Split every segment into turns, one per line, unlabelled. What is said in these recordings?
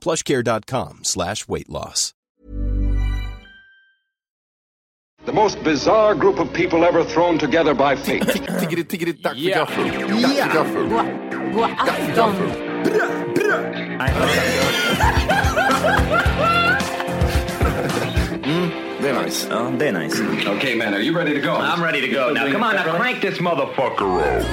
Plushcare.com slash weight loss.
The most bizarre group of people ever thrown together by fate.
Tiggeri, tiggeri, tack för gaffel. Tack för gaffel.
God afton.
Det är nice.
Ja, det är nice.
okay, man, are you ready to go?
I'm ready to go now. Come on, now crank this motherfucker up.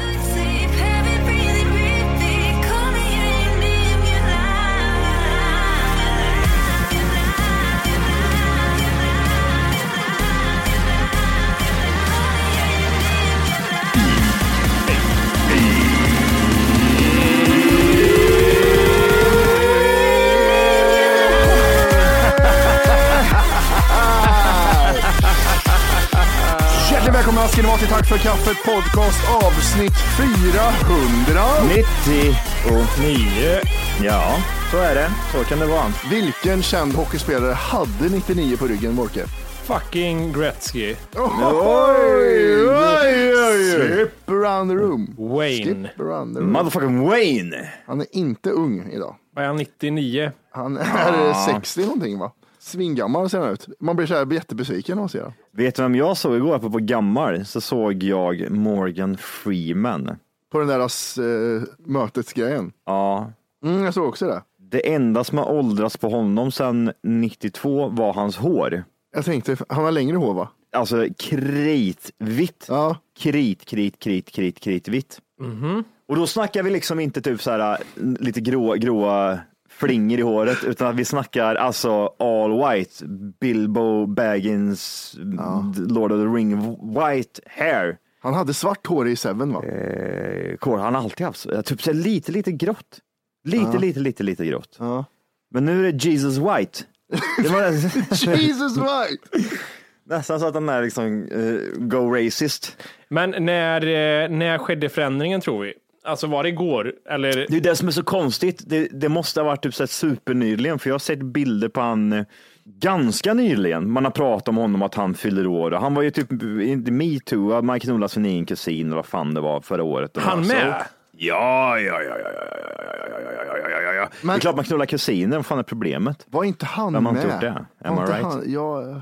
Hjärtligt välkomna ska ni vara till Tack för kaffet podcast avsnitt 400.
99. Ja, så är det. Så kan det vara.
Vilken känd hockeyspelare hade 99 på ryggen, Morke?
Fucking Gretzky.
Oj, oj, oj. Skip around the room.
Wayne.
Skip around the room.
Motherfucking Wayne.
Han är inte ung idag.
Vad är han, 99?
Han är 60 någonting va? Svingammal ser han ut. Man blir så här jättebesviken när man ser honom.
Vet du vem jag såg igår? Apropå gammal så såg jag Morgan Freeman.
På den där eh, mötesgrejen.
Ja,
Mm, jag såg också det.
det enda som har åldrats på honom sedan 92 var hans hår.
Jag tänkte, han har längre hår va?
Alltså kritvitt.
Ja. Mhm.
Krit, krit, krit, krit, kritvitt. Och då snackar vi liksom inte typ så här lite grå, gråa flingor i håret, utan att vi snackar alltså all white, Bilbo Baggins, Lord of the Ring, white hair.
Han hade svart hår i Seven va?
Eh, Kår, han har alltid haft så- typ så här lite, lite grått. Lite, lite, lite, lite grått.
Ja.
Men nu är det Jesus White. Det var
Jesus right!
nästan så att han är liksom eh, go racist.
Men när, eh, när skedde förändringen tror vi? Alltså var det igår? Eller?
Det är det som är så konstigt. Det, det måste ha varit typ så här supernyligen, för jag har sett bilder på han eh, ganska nyligen. Man har pratat om honom att han fyller år. Han var ju typ inte metoo, man knullade sin egen kusin eller vad fan det var förra året.
Han
Så-
med?
Ja, ja, ja, ja, ja, ja, ja, ja, ja, ja, ja, ja, ja, ja.
Men-
Det är klart man knullar kusiner, vad fan är problemet?
Var inte han
Vem har
med?
inte gjort det? Am
var,
I
inte
right?
han, ja,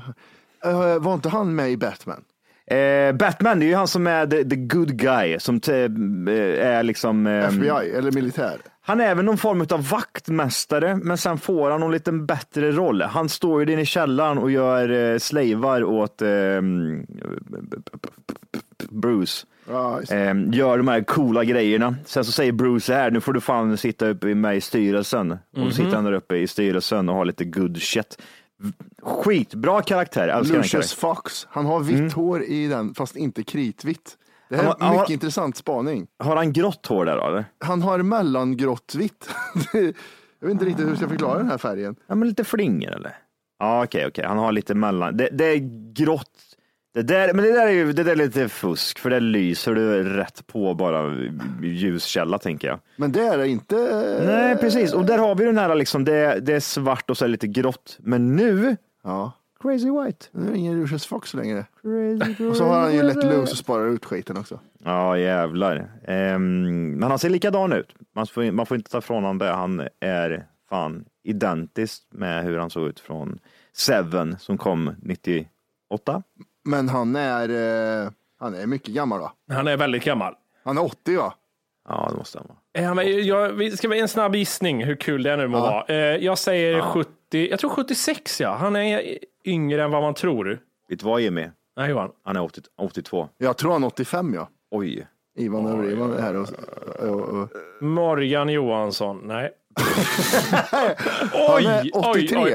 eh, var inte han med i Batman?
Eh, Batman, det är ju han som är the, the good guy, som te, eh, är liksom... ehm,
FBI eller militär?
Han är även någon form av vaktmästare, men sen får han någon liten bättre roll. Han står ju inne i källaren och gör eh, slavar åt ehm, Bruce.
Ja, just det.
Ehm, gör de här coola grejerna. Sen så säger Bruce så här, nu får du fan sitta uppe med i styrelsen. Och då sitter han där uppe i styrelsen och har lite good shit. Skitbra karaktär, älskar den
Lucius
karaktären.
Fox. Han har vitt hår i den, fast inte kritvitt. Det här är
Mm. Han har- han har-
mycket intressant spaning.
Har han grått hår där då, eller?
Han har mellangråttvitt. Det- jag vet inte riktigt hur jag ska förklara den här färgen.
Ja, men lite flinger eller? Ja, okej, okej. Han har lite mellan. Det, det är grått. Det där, men det där är ju det där är lite fusk, för det lyser du rätt på bara ljuskälla tänker jag.
Men det är det inte.
Nej, precis. Och där har vi den här liksom, det, det är svart och så är det lite grått. Men nu,
Ja,
crazy white.
nu är det ingen Lucius Fox längre.
Crazy
Och så har han ju lätt loose och sparar ut skiten också.
Ja, jävlar. Ehm, men han ser likadan ut. Man får, man får inte ta ifrån honom det. Han är fan identiskt med hur han såg ut från Seven som kom 98.
Men han är, eh, han är mycket gammal va?
Han är väldigt gammal.
Han är 80 va?
Ja, det måste han vara.
Ja, men Eh, jag, vi- ska vi en snabb gissning hur kul det är nu må vara? Eh, Jag säger 70, jag tror 76 ja. Han är yngre än vad man tror.
Vet du vad Jimmy?
Nej Johan.
Han är 80, 82.
Jag tror han är 85 ja.
Oj.
Ivan och Ivan är här och... och, och.
Morgan Johansson. Nej.
Han är
oj, oj,
83.
oj,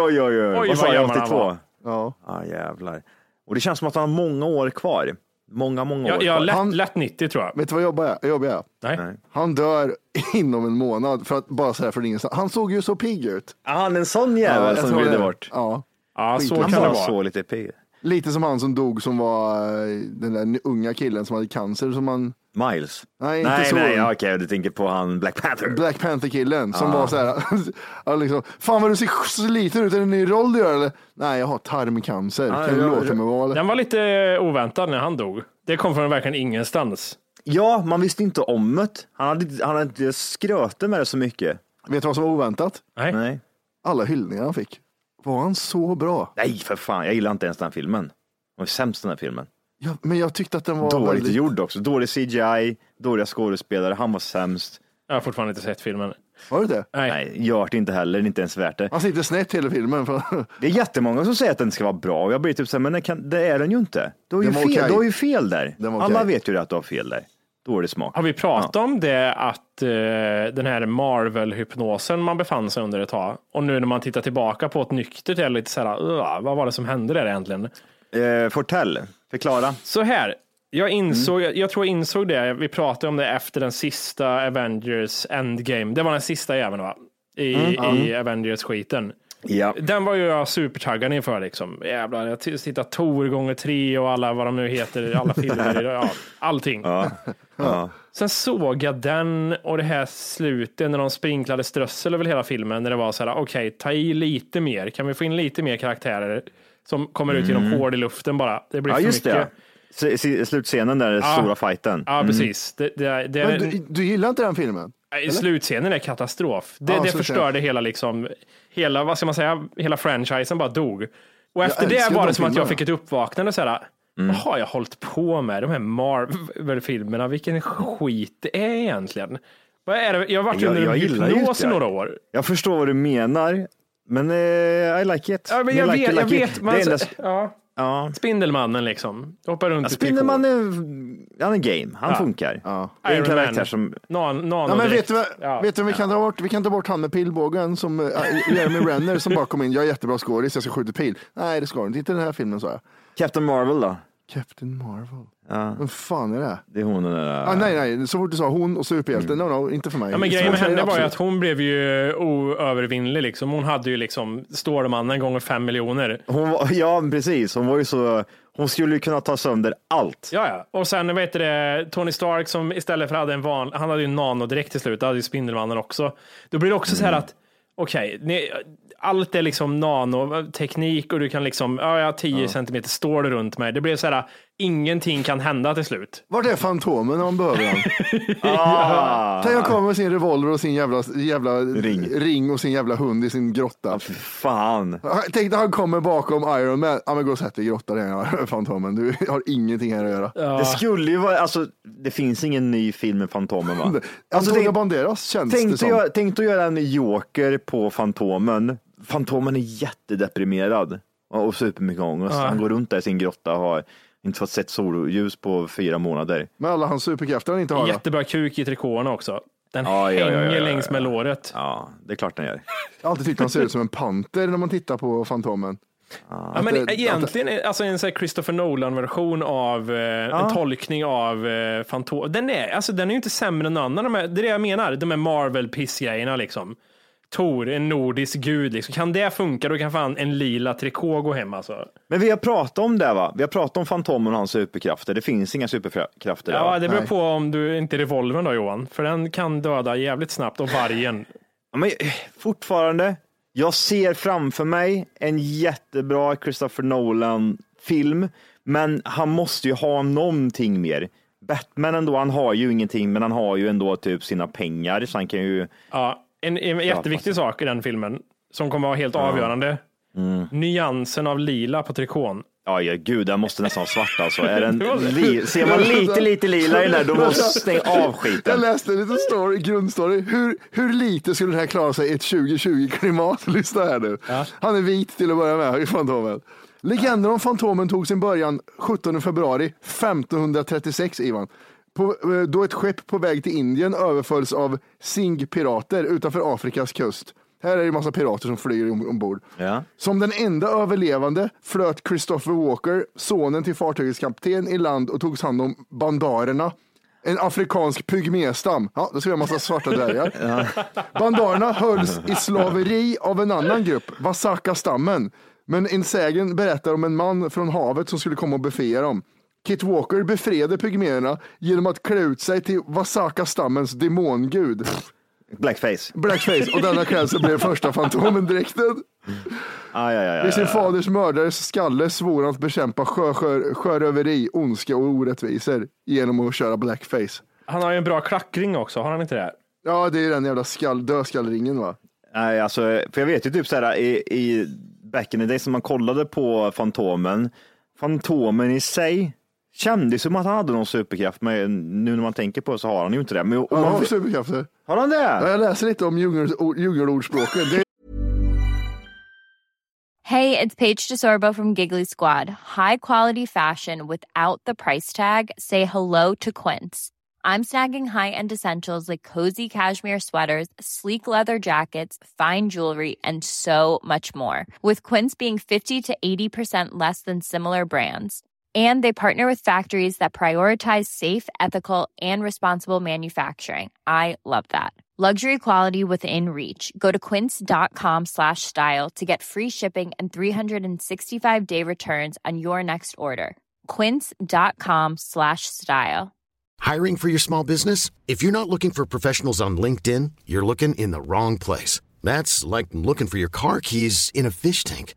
Oj, oj, oj.
Oj,
Vad sa
vad
jag?
gammal han
82?
var.
Ja.
Ja, jävlar. Och det känns som att han har många år kvar. Många, många år
Jag, jag
kvar.
lätt,
Han-
lätt 90 tror jag.
Vet du vad jobbar jag jobbar jag?
Nej.
Nej.
Han dör inom en månad, för att bara säga för ingenstans. Han såg ju så pigg ut.
Ah, han är en sån jävel
jag
som
tror
glider
det.
bort.
Ja.
Ja, så
Han
kan det
bara
vara.
så lite pigg.
Lite som han som dog som var eh, den där unga killen som hade cancer som han,
Miles?
Nej, inte
nej,
så.
nej okej, du tänker på han Black Panther.
Black Panther killen
Ah.
som var så här, ja, liksom, fan vad du ser sliten ut, är det en ny roll du gör eller? Nej jag har tarmcancer,
Ah, Ja,
kan du
jag-
låta mig vara eller?
Den var lite oväntad när han dog. Det kom från verkligen ingenstans.
Ja, man visste inte om det. Han hade, inte- han hade inte skrötit med det så mycket.
Vet du vad som var oväntat?
Nej.
Nej.
Alla hyllningar han fick. Var han så bra?
Nej, för fan. Jag gillar inte ens den här filmen. Den var sämst den här filmen.
Ja, men jag tyckte att den var
Dåligt
väldigt...
gjord också. Dålig CGI, dåliga skådespelare. Han var sämst.
Jag har fortfarande inte sett filmen.
Var det det?
Nej.
Nej, gör det inte heller. Det är inte ens värt det.
Han sitter snett hela filmen. För...
Det är jättemånga som säger att den ska vara bra och jag blir typ såhär, men det, kan, det är den ju inte. Du har ju,
Den var
fel,
okej.
du har ju fel där.
Den var
Alla
okej.
vet ju att du har fel där. Dålig smak.
Har vi pratat om det att eh, den här Marvel-hypnosen man befann sig under ett tag och nu när man tittar tillbaka på ett nyktert är det lite så här, "Ugh, vad var det som hände där egentligen?
Eh, Fortell, förklara.
Så här, jag insåg, jag, jag tror jag insåg det, vi pratade om det efter den sista Avengers Endgame. Det var den sista jäveln va? I, i Avengers-skiten.
Ja.
Den var ju jag supertaggad inför liksom. Jävlar, jag t- tittar Tor gånger tre och alla vad de nu heter, alla filmer, ja, allting.
ja.
Sen såg jag den och det här slutet när de sprinklade strössel över hela filmen. När det var så här, okej, ta i lite mer. Kan vi få in lite mer karaktärer som kommer ut genom hål i luften bara? Det
Mm.
blir
ja, Mm.
för
just
mycket.
det. S- s- Slutscenen där, den stora fighten.
Ja, precis. Det, det, det,
Men du, du gillar inte den filmen?
nej, slutscenen är katastrof. Det,
Ja,
det
slutscenen.
förstörde hela, liksom, hela, vad ska man säga, hela franchisen bara dog. Och efter det
älskar
var
de
det som att jag
filmerna.
fick ett uppvaknande. Så här, Vad har jag hållit på med? De här Marvel-filmerna, vilken skit det är egentligen. Vad är det? Jag har varit
Jag-
under
jag gillar ju
hypnos i
inte-
några år.
Jag förstår vad du menar, men eh, I like it.
Ja, men jag,
like
vet,
it,
jag
like it.
vet. Man,
Det enda-
ja,
ja.
Spindelmannen liksom. Hoppar runt i
Spindelman är, han är game, han funkar. Ja. Det är en
Iron
karaktär
Man.
som,
Nan,
Ja, men vet
nanodräkt.
du, vad-
Ja.
vet du vad vi kan dra bort? Vi kan ta bort han med pilbågen som äh, Jeremy Renner som bara kom in. Jag är jättebra skådis, jag ska skjuta pil. Nej, det ska du inte. Inte i den här filmen, sa jag.
Captain Marvel då?
Captain Marvel. Vem fan är det?
Det är hon den där.
Ah, nej, nej, så fort du sa hon och superhjälten,
Mm.
no, no, inte för mig.
Ja, men grejen
Så
med
säger
henne var ju
absolut.
att hon blev ju oövervinnlig. Liksom. Hon hade ju liksom Stålmannen gånger fem miljoner.
Hon var, ja, precis. Hon var ju så, hon skulle ju kunna ta sönder allt.
Ja, ja. Och sen vet du det, Tony Stark som istället för hade en van, han hade ju en nanodräkt till slut, då hade ju Spindelmannen också. Då blir det också så här
Mm.
att, okej, ni- allt är liksom nanoteknik och du kan liksom, ja, jag har 10 centimeter stål runt mig. Det blir så här, ingenting kan hända till slut.
Vart är Fantomen när man behöver honom?
Ah,
Tänk jag kommer med sin revolver och sin jävla, jävla
Ring.
och sin jävla hund i sin grotta.
fy fan.
Ah, Tänk när han kommer bakom Iron Man. Ja men gå och sätt dig i grottan igen Fantomen. Du har ingenting här att göra.
Det skulle ju vara, alltså det finns ingen ny film med Fantomen va? Alltså,
Antonio
tänk-
Banderas känns det
Tänk
som.
dig tänk dig att göra en joker på Fantomen. Fantomen är jättedeprimerad och och supermycket ångest. Han går runt där i sin grotta och har inte fått sett solljus på fyra månader.
Med alla hans superkrafter han inte har. då.
Jättebra kuk i trikåerna också. Den
Ja, ja, ja,
hänger
ja, ja,
längs med låret.
Ja, det är klart den gör.
Jag har alltid tyckt han ser ut som en panter när man tittar på Fantomen.
Ja, men
det-
egentligen, är- alltså en sån här Christopher Nolan-version av, eh, en tolkning av eh, Fantomen. Den är, alltså den är ju inte sämre än någon annan. De här, det är det jag menar, de här Marvel-pissgrejerna liksom. Tor, en nordisk gud, liksom. kan det funka då kan fan en lila trikå gå hem alltså.
Men vi har pratat om det va? Vi har pratat om Fantomen och hans superkrafter. Det finns inga superkrafter där.
Ja,
va?
det beror
nej.
på om du inte är revolvern då Johan, för den kan döda jävligt snabbt och vargen.
Ja, Men eh, fortfarande, jag ser framför mig en jättebra Christopher Nolan-film, men han måste ju ha någonting mer. Batman ändå, han har ju ingenting, men han har ju ändå typ sina pengar, så han kan ju...
Ja, en, en jätteviktig
Mm.
sak i den filmen som kommer vara helt avgörande. Nyansen av lila på trikån.
Ja, ja, gud, den måste nästan vara svart alltså. Är den
Det var det.
li- ser man lite, lite lila i den där, då måste stäng av
Jag
skiten.
läste en liten story, grundstory. Hur, hur lite skulle den här klara sig i ett 2020-klimat? Lyssna här nu. Han är vit till att börja med i Fantomen. Legenden om Fantomen tog sin början 17 februari 1536, Ivan. På, eh, då ett skepp på väg till Indien överfölls av Singh-pirater utanför Afrikas kust. Här är det en massa pirater som flyr om- ombord.
Ja.
Som den enda överlevande flöt Christopher Walker, sonen till fartygets kapten, i land och togs hand om bandarerna. En afrikansk pygméstam. Ja, då ska vi ha en massa svarta dvärgar. Bandarerna hölls i slaveri av en annan grupp, Wasaka-stammen. Men insägen berättar om en man från havet som skulle komma och befria dem. Kit Walker befriade pygméerna genom att klä ut sig till Wasaka-stammens demongud.
Blackface.
Blackface och denna klädsel blev första Fantomen-dräkten.
Aj, aj, aj,
Vid
aj,
sin faders mördares skalle svor han att bekämpa sjö, sjö, sjöröveri, ondska och orättvisor genom att köra blackface.
Han har ju en bra klackring också, har han inte det?
Ja, det är den jävla skall, dödskallringen va?
Nej, alltså, för jag vet ju typ så här i, i back in the days när man kollade på Fantomen. Fantomen i sig kändes som att han hade någon superkraft, men nu när man tänker på det så har han ju inte det. Men, om
Han
man,
har superkrafter.
har han
Ja,
det?
jag läser lite om djungel- o- djungelordspråken. Det
Hey, it's Paige DeSorbo from Giggly Squad. High quality fashion without the price tag. Say hello to Quince. I'm snagging high-end essentials like cozy cashmere sweaters, sleek leather jackets, fine jewelry, and so much more. With Quince being 50 to 80% less than similar brands. And they partner with factories that prioritize safe, ethical, and responsible manufacturing. I love that. Luxury quality within reach. Go to quince.com slash style to get free shipping and 365 day returns on your next order. Quince.com slash style.
Hiring for your small business? If you're not looking for professionals on LinkedIn, you're looking in the wrong place. That's like looking for your car keys in a fish tank.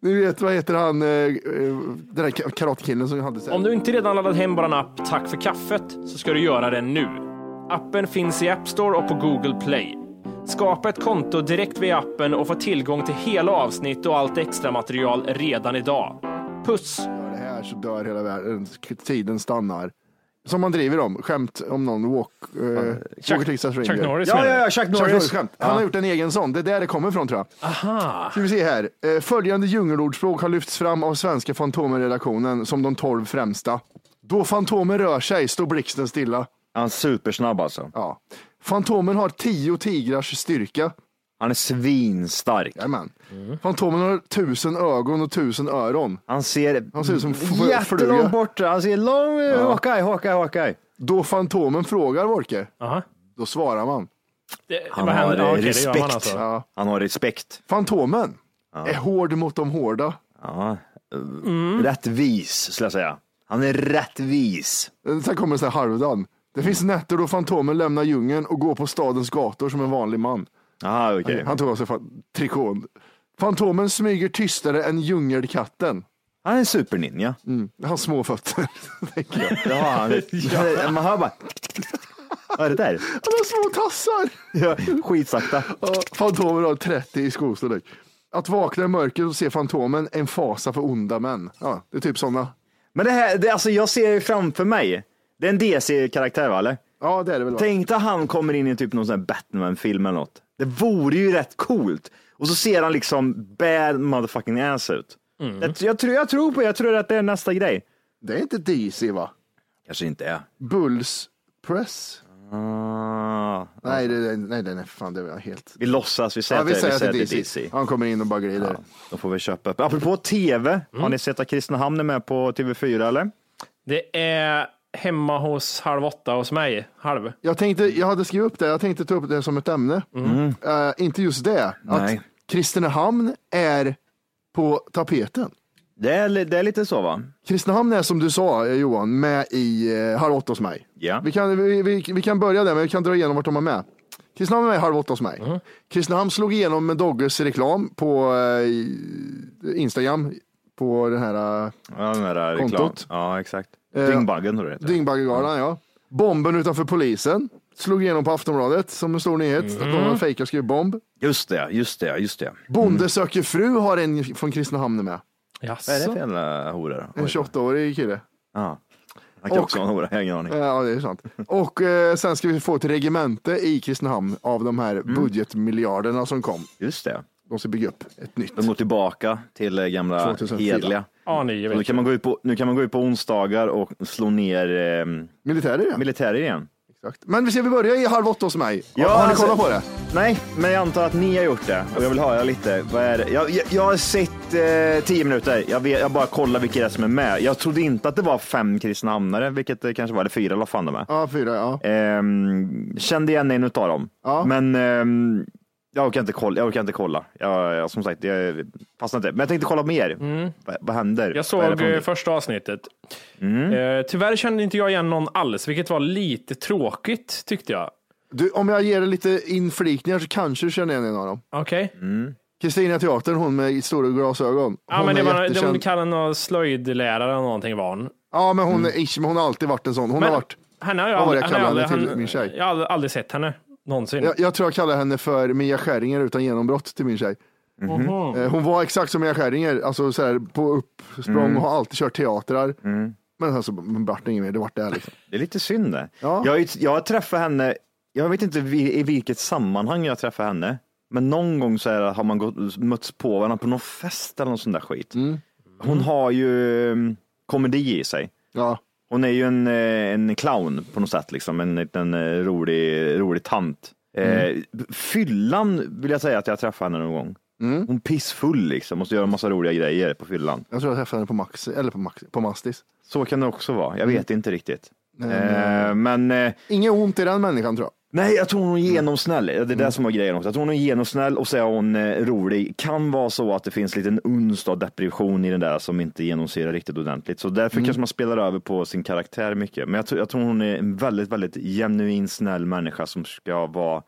ni vet vad heter han, eh, eh, den där ka- karatkillen som vi hade. så här-
Om du inte redan laddat hem bara en app Tack för kaffet så ska du göra det nu. Appen finns i App Store och på Google Play. Skapa ett konto direkt via appen och få tillgång till hela avsnitt och allt extra material redan idag. Puss!
Gör det här så dör hela världen. Tiden stannar. Som man driver om. Skämt om någon walk, eh, walker Texas Ranger.
Chuck Norris
Ja,
menar
ja,
du?
ja, Chuck
Chuck Norris
Norris.
skämt. Han har gjort en egen sån. Det är där det kommer ifrån tror jag.
Aha.
Ska vi se här. Eh, Följande djungelordspråk har lyfts fram av svenska Fantomen-redaktionen som de tolv främsta. Då Fantomen rör sig står blixten stilla.
Han är supersnabb alltså.
Ja. Fantomen har tio tigrars styrka.
Han är svinstark.
Jajamän.
Mm.
Fantomen har tusen ögon och tusen öron.
Han ser,
Han ser ut som f- fluga.
jättelångt borta. Han ser lång, Hawkeye, Hawkeye, Hawkeye.
Då Fantomen frågar Wolke,
Aha.
då svarar man.
Det,
Han
vad
har
händer? Ja, okej, det gör man
respekt.
alltså.
Han har respekt.
Fantomen är hård mot de hårda. Mm.
Rättvis, skulle jag säga. Han är rättvis.
Eh, Sen kommer en sån här halvdan. Det finns nätter då Fantomen lämnar djungeln och går på stadens gator som en vanlig man.
Aha, okej.
Han tog av sig fan- trikån. Fantomen smyger tystare än djungelkatten.
Han är en superninja.
Han har små fötter. tänker jag.
Det har han. Man hör bara... Vad är det där?
Han har små tassar.
Ja, Skitsakta.
Ja, Fantomen har 30 i skostorlek. Att vakna i mörkret och se Fantomen en fasa för onda män. Ja, det är typ sådana.
Men det här, det, alltså jag ser ju framför mig. Det är en DC-karaktär va, eller?
Ja, det är det väl. va?
Tänk dig han kommer in i typ någon sån här Batman-film eller något. Det vore ju rätt coolt. Och så ser han liksom bad motherfucking ass ut.
Mm.
Jag, jag, tror, jag tror på det. Jag tror att det är nästa grej.
Det är inte DC va?
Kanske inte är.
Bulls Press?
Ah,
Nej, det, det- nej, nej, nej, för fan, det var helt...
vi låtsas, vi säger,
Ja,
att
vi
det-
säger att det är
att
DC. Han kommer in och bara glider.
Då får vi köpa upp. Apropå tv,
Mm.
har ni sett att Kristinehamn är med på TV4 eller?
Det är hemma hos halv åtta hos mig. Halv.
Jag, tänkte, jag hade skrivit upp det, jag tänkte ta upp det som ett ämne.
Mm.
Eh, inte just det,
Nej.
att Kristinehamn är på tapeten.
Det är, li- det är lite så va?
Kristinehamn är som du sa eh, Johan med i eh, Halv åtta hos mig.
Ja.
Vi, kan, vi, vi, vi kan börja där, men vi kan dra igenom vart de är med. Kristinehamn är med i Halv åtta hos mig.
Mm.
Kristinehamn slog igenom med Dogges reklam på eh, Instagram. På den här eh,
Ja, den där reklam.
Kontot.
Ja, exakt.
Eh,
Dyngbaggen tror jag det heter.
Dyngbaggegalan, ja. Bomben utanför polisen. Slog igenom på Aftonbladet som en stor
Mm.
nyhet. Att de fejkar och skrev bomb.
Just det, just det, just det.
Bonde söker fru har en från Kristinehamn med.
Vad är det för
Jaså?
jävla hora? då?
En
Oj.
28-årig kille.
Ja. Han kan
Och- Eh.
också vara en hora, jag har ingen aning.
Ja, det är sant. Och eh, sen ska vi få ett regemente i Kristinehamn av de här
Mm.
budgetmiljarderna som kom.
Just det.
De ska bygga upp ett nytt.
De går tillbaka till eh, gamla
2004.
hedliga.
A9
Och Nu
vet
kan, man gå ut på, nu kan man gå ut på onsdagar och slå ner ehm,
Militärer ja.
militärer igen.
Exakt. Men vi ser, vi börjar i Halv åtta hos mig.
Ja,
har ni
alltså-
kollat på det?
Nej, men jag antar att ni har gjort det och jag vill höra lite. Vad är det? Jag, jag, jag har sett eh, tio minuter. Jag, vet, jag bara kollar vilka det är som är med. Jag trodde inte att det var fem Kristinehamnare, vilket det kanske var. Eller fyra, eller vad fan de är.
Ja, fyra. Ja.
Ehm, kände igen en utav dem.
Ja.
Men ehm, jag orkar inte kolla. Jag orkar inte kolla. Jag, jag, som sagt, jag fastnar inte. Men jag tänkte kolla med er. Vad- vad händer?
Mm. Jag
Vad är det
såg
för
eh,
någonting? Mm.
första avsnittet. Eh, tyvärr kände inte jag igen någon alls, vilket var lite tråkigt tyckte jag.
Du, om jag ger dig lite inflikningar så kanske du känner igen en av dem.
Okej.
Kristina Teatern, hon med stora glasögon.
Ja,
Hon
men det
är
var,
jättekänd.
de kallar någon slöjdlärare eller någonting var hon.
Ja, men hon, är
Mm.
ish, men hon har alltid varit en sån. Hon
Men-
har varit,
Henne har jag,
Vad var det
aldrig,
jag
henne har jag,
kallade
aldrig,
till min tjej?
jag har aldrig, aldrig sett henne någonsin.
jag, jag tror jag kallar henne för Mia Skäringer utan genombrott till min tjej.
Mhm.
Eh, Hon var exakt som Mia Skäringer, alltså så här, på uppsprång
Mm.
och har alltid kört teatrar. Men alltså, men vart det inget mer, det vart det här liksom.
Det är lite synd det.
Ja.
Jag, har ju- jag har träffat henne, jag vet inte vi- i vilket sammanhang jag träffar henne, men någon gång så här, har man gått, mötts på varandra på någon fest eller någon sån där skit.
Mm.
Hon har ju mm, komedi i sig.
Ja.
Hon är ju en, eh, en clown på något sätt, liksom. en liten eh, rolig, rolig tant. Eh, fyllan vill jag säga att jag träffade henne någon gång. Hon är pissfull liksom, måste göra en massa roliga grejer på fyllan.
Jag tror jag träffade henne på Maxi, eller på, Maxi, på Mastis.
Så kan det också vara, jag vet inte riktigt. Eh, men eh,
Inget ont i den människan tror jag.
Nej, jag tror hon är genomsnäll. Det är det som var grejen också. Jag tror hon är genomsnäll och så är hon eh, rolig. Kan vara så att det finns lite en uns av depression i den där som inte genomsyrar riktigt ordentligt. Så därför kanske man spelar över på sin karaktär mycket. Men jag tror, jag tror hon är en väldigt, väldigt genuin snäll människa som ska vara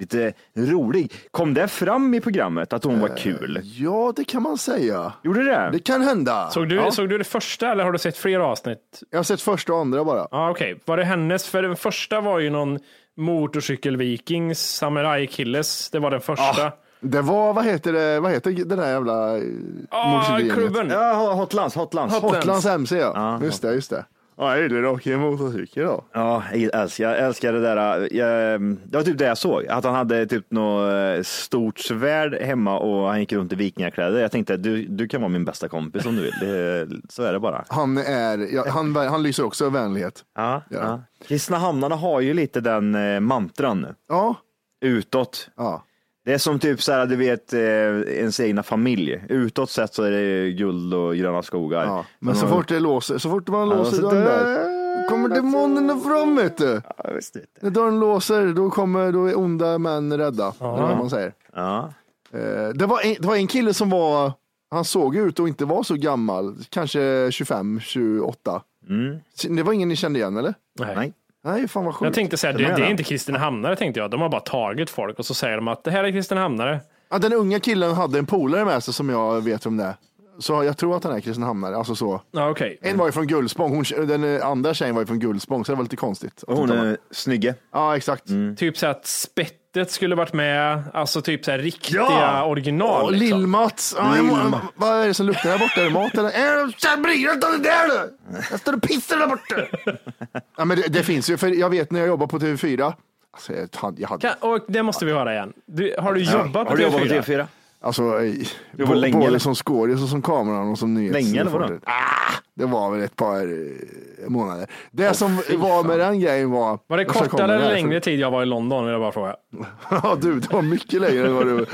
lite rolig. Kom det fram i programmet att hon var kul?
Ja, det kan man säga.
Gjorde Eh, det?
Det kan hända.
Såg, du, såg du det första eller har du sett fler avsnitt?
Jag har sett första och andra bara.
Ja, okej. Var det hennes? För den första var ju någon motorcykelvikings, samurajkilles. Det var den första.
Det var, vad heter det, vad heter det där jävla eh,
Ah,
motorcykelgänget?
klubben!
Ja, Hotlands, Hotlands.
Hotlands MC ja.
Ja,
just det, just det. Ja, jag gillar att åka motorcykel då.
Ja, jag älskar, jag älskar det där. Jag, det var typ det jag såg, att han hade typ något eh, stort svärd hemma och han gick runt i vikingakläder. Jag tänkte, du, du kan vara min bästa kompis om du vill. Det, så är det bara.
Han, är, ja, han, han lyser också av vänlighet.
Ja,
Ja.
ja. Kristinehamnarna har ju lite den eh, mantran
Ja,
utåt.
ja.
Det är som typ så här, du vet, eh, ens egna familj. Utåt sett så är det guld och gröna skogar.
ja. Men så fort det låser, så fort man låser
så
dörren
dör-
där, kommer demonerna fram vet du.
Ja, jag visste inte.
När dörren låser, då, kommer, då är onda män rädda. Det är vad man säger.
Ja.
Eh, Det var, en, det var en kille som var, han såg ut och inte var så gammal, kanske 25, 28. Det var ingen ni kände igen eller?
Nej.
Nej, fan vad
Mm. Jag
sjukt.
tänkte säga, det,
Den här
det är
då?
inte Kristinehamnare tänkte jag. De har bara tagit folk och så säger de att det här är Kristinehamnare.
Ja, den unga killen hade en polare med sig som jag vet om det är. Så jag tror att han är kristinehamnare, alltså så.
Ja, okej.
En var ju från Gullspång, hon, den andra tjejen var ju från Gullspång, så det var lite konstigt.
Mm.
Hon är snygge.
Ja, exakt.
Typ så här att spettet skulle varit med. Alltså typ så här riktiga
Ja!
original.
Och
liksom.
Lill-Mats. Ja, jag må-
Lill-Mats.
Vad är det som luktar där borta? Är det mat eller? Äh, jag bryr dig inte om det där du! Jag står och pissar där borta. ja, men det, det finns ju, för jag vet när jag jobbade på TV4. Alltså, jag hade, jag hade,
Kan, och det måste vi höra igen. Du, har du jobbat på
Har du jobbat på
TV4?
TV4?
alltså eh,
Det var
bo-
länge,
både
eller?
som skådis och som kameran och som nyhets...
Länge, eller vadå?
Ah, det var väl ett par eh, månader. Det som var med den grejen var...
Var det
Jag ska komma
kortare eller
där,
längre tid jag var i London? Vill jag bara fråga.
Ja du, det var mycket längre än vad du...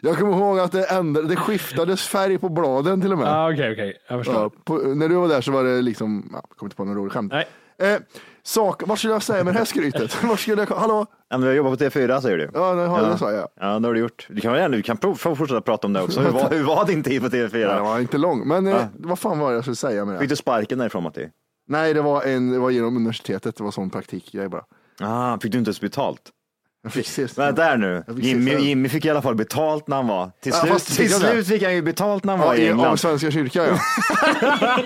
Jag kommer ihåg att det, ändrade, det skiftades färg på bladen till och med.
Ah, okej, okej. Jag förstår.
Ja, på, när du var där så var det liksom, ja, jag kommer inte på någon rolig skämt.
Nej.
Eh, sak, vad skulle jag säga med det här skrytet? Vad skulle jag, hallå?
Ja, men du har jobbat på T4 säger du.
Ja, det har jag, det sa jag.
Ja, det har du gjort. Du kan, väl gärna- du kan prov- få fortsätta prata om det också. Hur var, hur var din tid på
Nej, Den
T4?
var inte lång, men eh, vad fan var det jag skulle säga med det?
Fick du sparken därifrån Matti?
Nej, det var, en, det var genom universitetet. Det var sån praktikgrej bara.
Ah, fick du inte ens betalt?
Jag fick sist.
Nej, där nu.
Jag fick
Jimmy,
sista-
Jimmy fick i alla fall betalt när han var. Till
Ja,
slut,
fast fick
till
jag det?
slut fick han ju betalt när han var
Ja,
i
i- av
England.
Svenska kyrkan ja.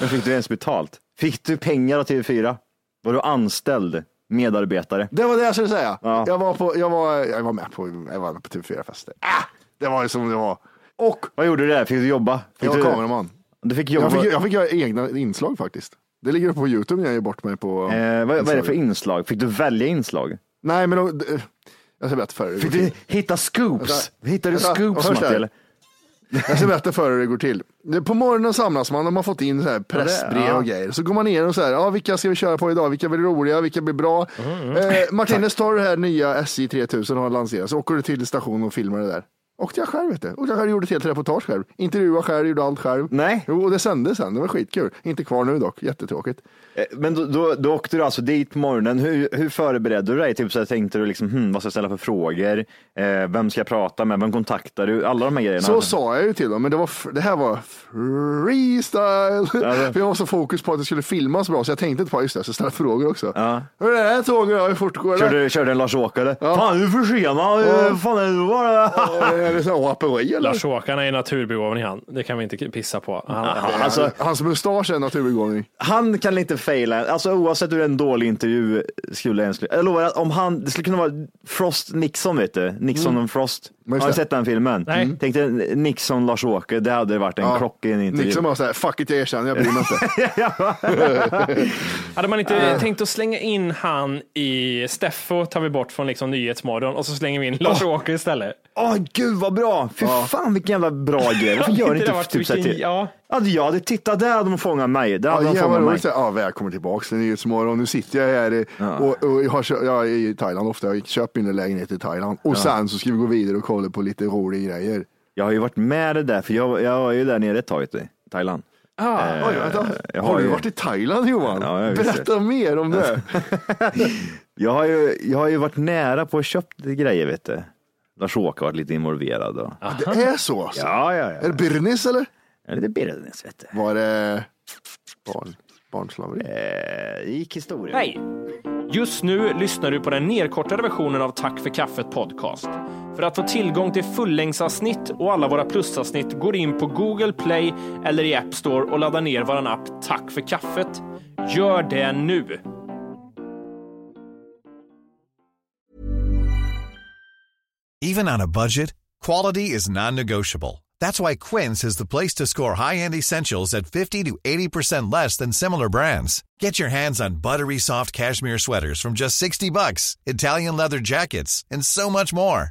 Men fick du ens betalt? Fick du pengar av TV4? Var du anställd medarbetare?
Det var det jag skulle säga.
Ja.
Jag, var på, jag, var, jag var med på, jag var med på TV4-fester. Ah, det var ju som det var. Och
Vad gjorde du där? Fick du jobba? Fick
jag var
du...
kameraman.
Du fick jobba.
Jag fick, jag fick göra egna inslag faktiskt. Det ligger på Youtube när jag ger bort mig på...
Eh, vad, vad är det för
inslaget.
inslag? Fick du välja inslag?
Nej, men... de- de- Jag ska berätta för dig.
Fick du hitta scoops?
Vänta.
Hittade du
Vänta, och
scoops
först
Matti?
här.
eller?
Jag ska berätta för er hur det går till. Det- På morgonen samlas man, de har fått in så här pressbrev
Ja, det- ja.
och grejer. Så går man igenom så här, ja, vilka ska vi köra på idag? Vilka blir roliga? Vilka blir bra?
Mm,
Eh, Martinez tar det här nya SJ 3000 har lanserats. Så åker du till stationen och filmar det där. Åkte jag själv vet du. Och jag själv gjorde ett helt reportage själv. Intervjuade själv, gjorde allt själv.
Nej.
Jo, och det sändes sen. Det var skitkul. Inte kvar nu dock, jättetråkigt.
Eh, Men då, då, då åkte du alltså dit på morgonen. Hur, hur förberedde du dig? Typ så här, tänkte du liksom, hmm, vad ska jag ställa för frågor? Eh, vem ska jag prata med? Vem kontaktar du? Alla de här grejerna.
Så sa jag ju till dem, men det, var, f- det här var freestyle.
det-
För jag var så fokus på att det skulle filmas bra så jag tänkte inte på, "Ah, just det, jag ska ställa frågor också. Hur är det här tåget då? Hur fort går det?
Körde, körde en Lars-Åkare? Fan, du är försenad.
Ja.
Ja. Fan, är du bara...
Eller- Eller så här, Aperol, liksom eller?
Lars-Åkarna är naturbegåvning han. Det kan vi inte pissa på. Han,
Alltså,
Hans mustasch är en naturbegåvning.
han kan inte faila. Alltså, oavsett hur en dålig intervju skulle ens... Jag lovar, att om han, det skulle kunna vara Frost Nixon, vet du. Nixon och Frost.
Mm. just
Har du
det.
sett den filmen?
Nej. Mm.
Tänkte Nixon Lars-Åke, det hade varit en
Ja.
klockren intervju.
Nixon bara såhär, fuck it jag erkänner, jag bryr mig inte.
Hade man inte tänkt att slänga in han i Steffo tar vi bort från liksom Nyhetsmorgon och så slänger vi in Lars-Åke istället.
Åh gud vad bra! Fy fan vilken jävla bra grej. Varför gör
Inte det
inte
varit
typ så här
vilken-
till?
ja.
Hade jag hade tittat, där hade de fångat mig. Där hade
Ja,
de
jävlar
fångat mig.
roligt. Så här, Ja, välkommen tillbaks till Nyhetsmorgon. Nu sitter jag här i, och, och jag, har, kö- jag är i Thailand ofta. Jag köper in en lägenhet i Thailand. Och sen så ska vi gå vidare och kolla på lite roliga grejer.
Jag har ju varit med det där, för jag, jag var ju där nere ett tag i Thailand.
Oj, vänta.
Eh, jag har
har du
ju-
varit i Thailand Johan?
Ja, jag visste.
Berätta mer om det.
Jag har ju, jag har ju varit nära på att köpa lite grejer vet du. Lars-Åke har varit lite involverad. Och...
Det är så alltså.
Ja, ja,
Är
ja.
det Birnis eller?
Det är lite business vet du.
Var det barn, barnslaveri?
Eh, gick historien.
Hej! Just nu lyssnar du på den nedkortade versionen av Tack för kaffet podcast. För att få tillgång till fullängdsavsnitt och alla våra plusavsnitt går in på Google Play eller i App Store och laddar ner vår app Tack för kaffet. Gör det nu!
Even on a budget, quality is non-negotiable. That's why Quince is the place to score high-end essentials at 50 to 80% less than similar brands. Get your hands on buttery soft cashmere sweaters from just 60 bucks, Italian leather jackets, and so much more.